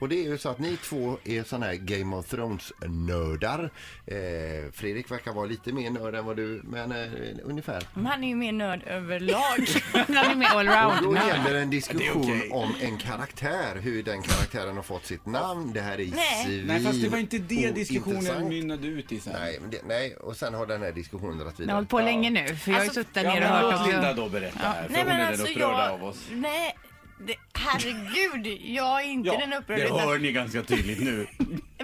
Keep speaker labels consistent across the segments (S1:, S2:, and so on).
S1: Och det är ju så att ni två är såna här Game of Thrones-nördar. Eh, Fredrik verkar vara lite mer nörd än vad du, men eh, ungefär.
S2: Men Han är ju mer nörd överlag.
S3: Han är mer
S1: Och då
S3: allround.
S1: gäller en diskussion om en karaktär, hur den karaktären har fått sitt namn. Det här är
S2: Nej.
S1: svin-
S4: Nej, fast det var inte det
S1: ointressant.
S4: diskussionen mynnade ut i sen.
S1: Nej, men det, nej, och sen har den här diskussionen dragit
S3: Jag har
S1: vidare.
S3: hållit på länge nu, för jag har ju
S2: Alltså,
S3: suttit där
S4: Ja,
S3: nere och
S4: men
S3: hört
S4: låt Linda
S3: också.
S4: då berätta här, för
S2: Nej
S4: hon
S2: men
S4: är
S2: alltså
S4: den upprörda
S2: jag...
S4: av oss.
S2: Nej, det, herregud. Jag är inte den upprörda.
S4: det
S2: utan
S4: hör ni ganska tydligt nu.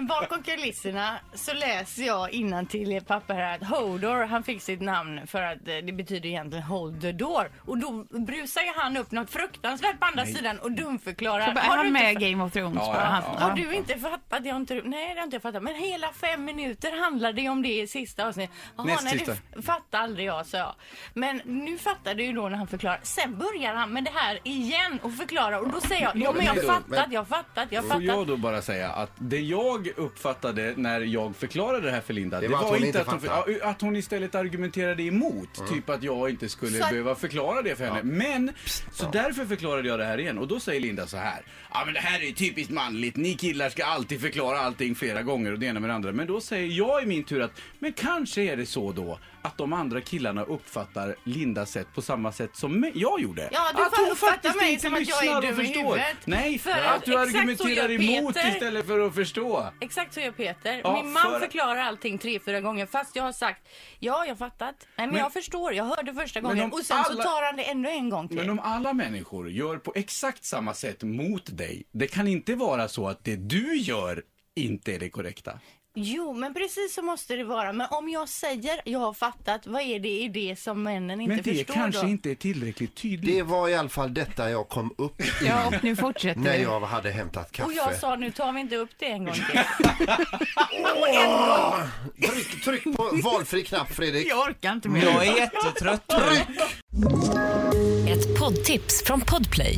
S2: Bakom kulisserna så läser jag innan till i ett papper här att Hodor, han fick sitt namn för att eh, det betyder egentligen hold the door. Och då brusar ju han upp något fruktansvärt på andra sidan och dumförklarar.
S3: Är
S2: Har du
S3: han
S2: inte
S3: med i Game of Thrones?
S4: Ja,
S3: bara?
S4: ja,
S3: Han-
S4: ja.
S2: Har du inte fattat? Jag har inte, nej, det har inte jag fattat. Men hela fem minuter handlade ju om det i sista avsnittet. Jaha,
S4: Näst
S2: nej,
S4: sista.
S2: det f- fattar aldrig jag, sa jag. Men nu fattade ju då när han förklarar. Sen börjar han med det här igen och förklarar. Och då säger jag, ja men jag har
S4: Men-
S2: fattat, jag har fattat, jag har
S4: Får jag
S2: fattat.
S4: då bara säga att det jag uppfattade när jag förklarade det här för Linda,
S1: Det var att hon inte Mm.
S4: att,
S1: fattade.
S4: hon, ja, att hon istället argumenterade emot. Typ att jag inte skulle
S2: Så att-
S4: behöva förklara det för henne. Men, så därför förklarade jag det här igen. Och då säger Linda så här. Ja men det här är ju typiskt manligt. Ni killar ska alltid förklara allting flera gånger och det ena med det andra. Men då säger jag i min tur att, men kanske är det så då att de andra killarna uppfattar Lindas sätt på samma sätt som mig- jag gjorde.
S2: Ja, du
S4: att hon
S2: uppfattar
S4: Ah, faktiskt
S2: mig
S4: inte
S2: som att jag är
S4: lyssnar och
S2: dum i
S4: förstår.
S2: huvudet.
S4: Nej,
S2: För
S4: att,
S2: att
S4: du
S2: exakt så
S4: argumenterar
S2: gör
S4: emot
S2: Peter.
S4: istället för att förstå.
S2: Exakt så gör Peter.
S4: Ja,
S2: Min man
S4: för-
S2: förklarar allting tre, fyra gånger fast jag har sagt ja, jag har fattat. Nej, men,
S4: Men-
S2: jag förstår, jag hörde första
S4: Men
S2: gången
S4: om
S2: och sen så
S4: alla-
S2: tar han det ännu en gång till.
S4: Men om alla människor gör på exakt samma sätt mot dig, det kan inte vara så att det du gör inte är det korrekta.
S2: Jo, men precis så måste det vara. Men om jag säger jag har fattat, vad är det i det som männen inte
S4: Men det
S2: förstår
S4: kanske
S2: då?
S4: inte är tillräckligt tydligt.
S1: Det var i alla fall detta jag kom upp i
S3: Ja, och nu fortsätter
S1: när
S3: vi.
S1: jag hade hämtat kaffe.
S2: Och jag sa nu tar vi inte upp det en gång till.
S1: tryck, tryck på valfri knapp Fredrik.
S3: Jag orkar inte mer.
S5: Jag är jättetrött nu.
S6: Ett poddtips från Podplay.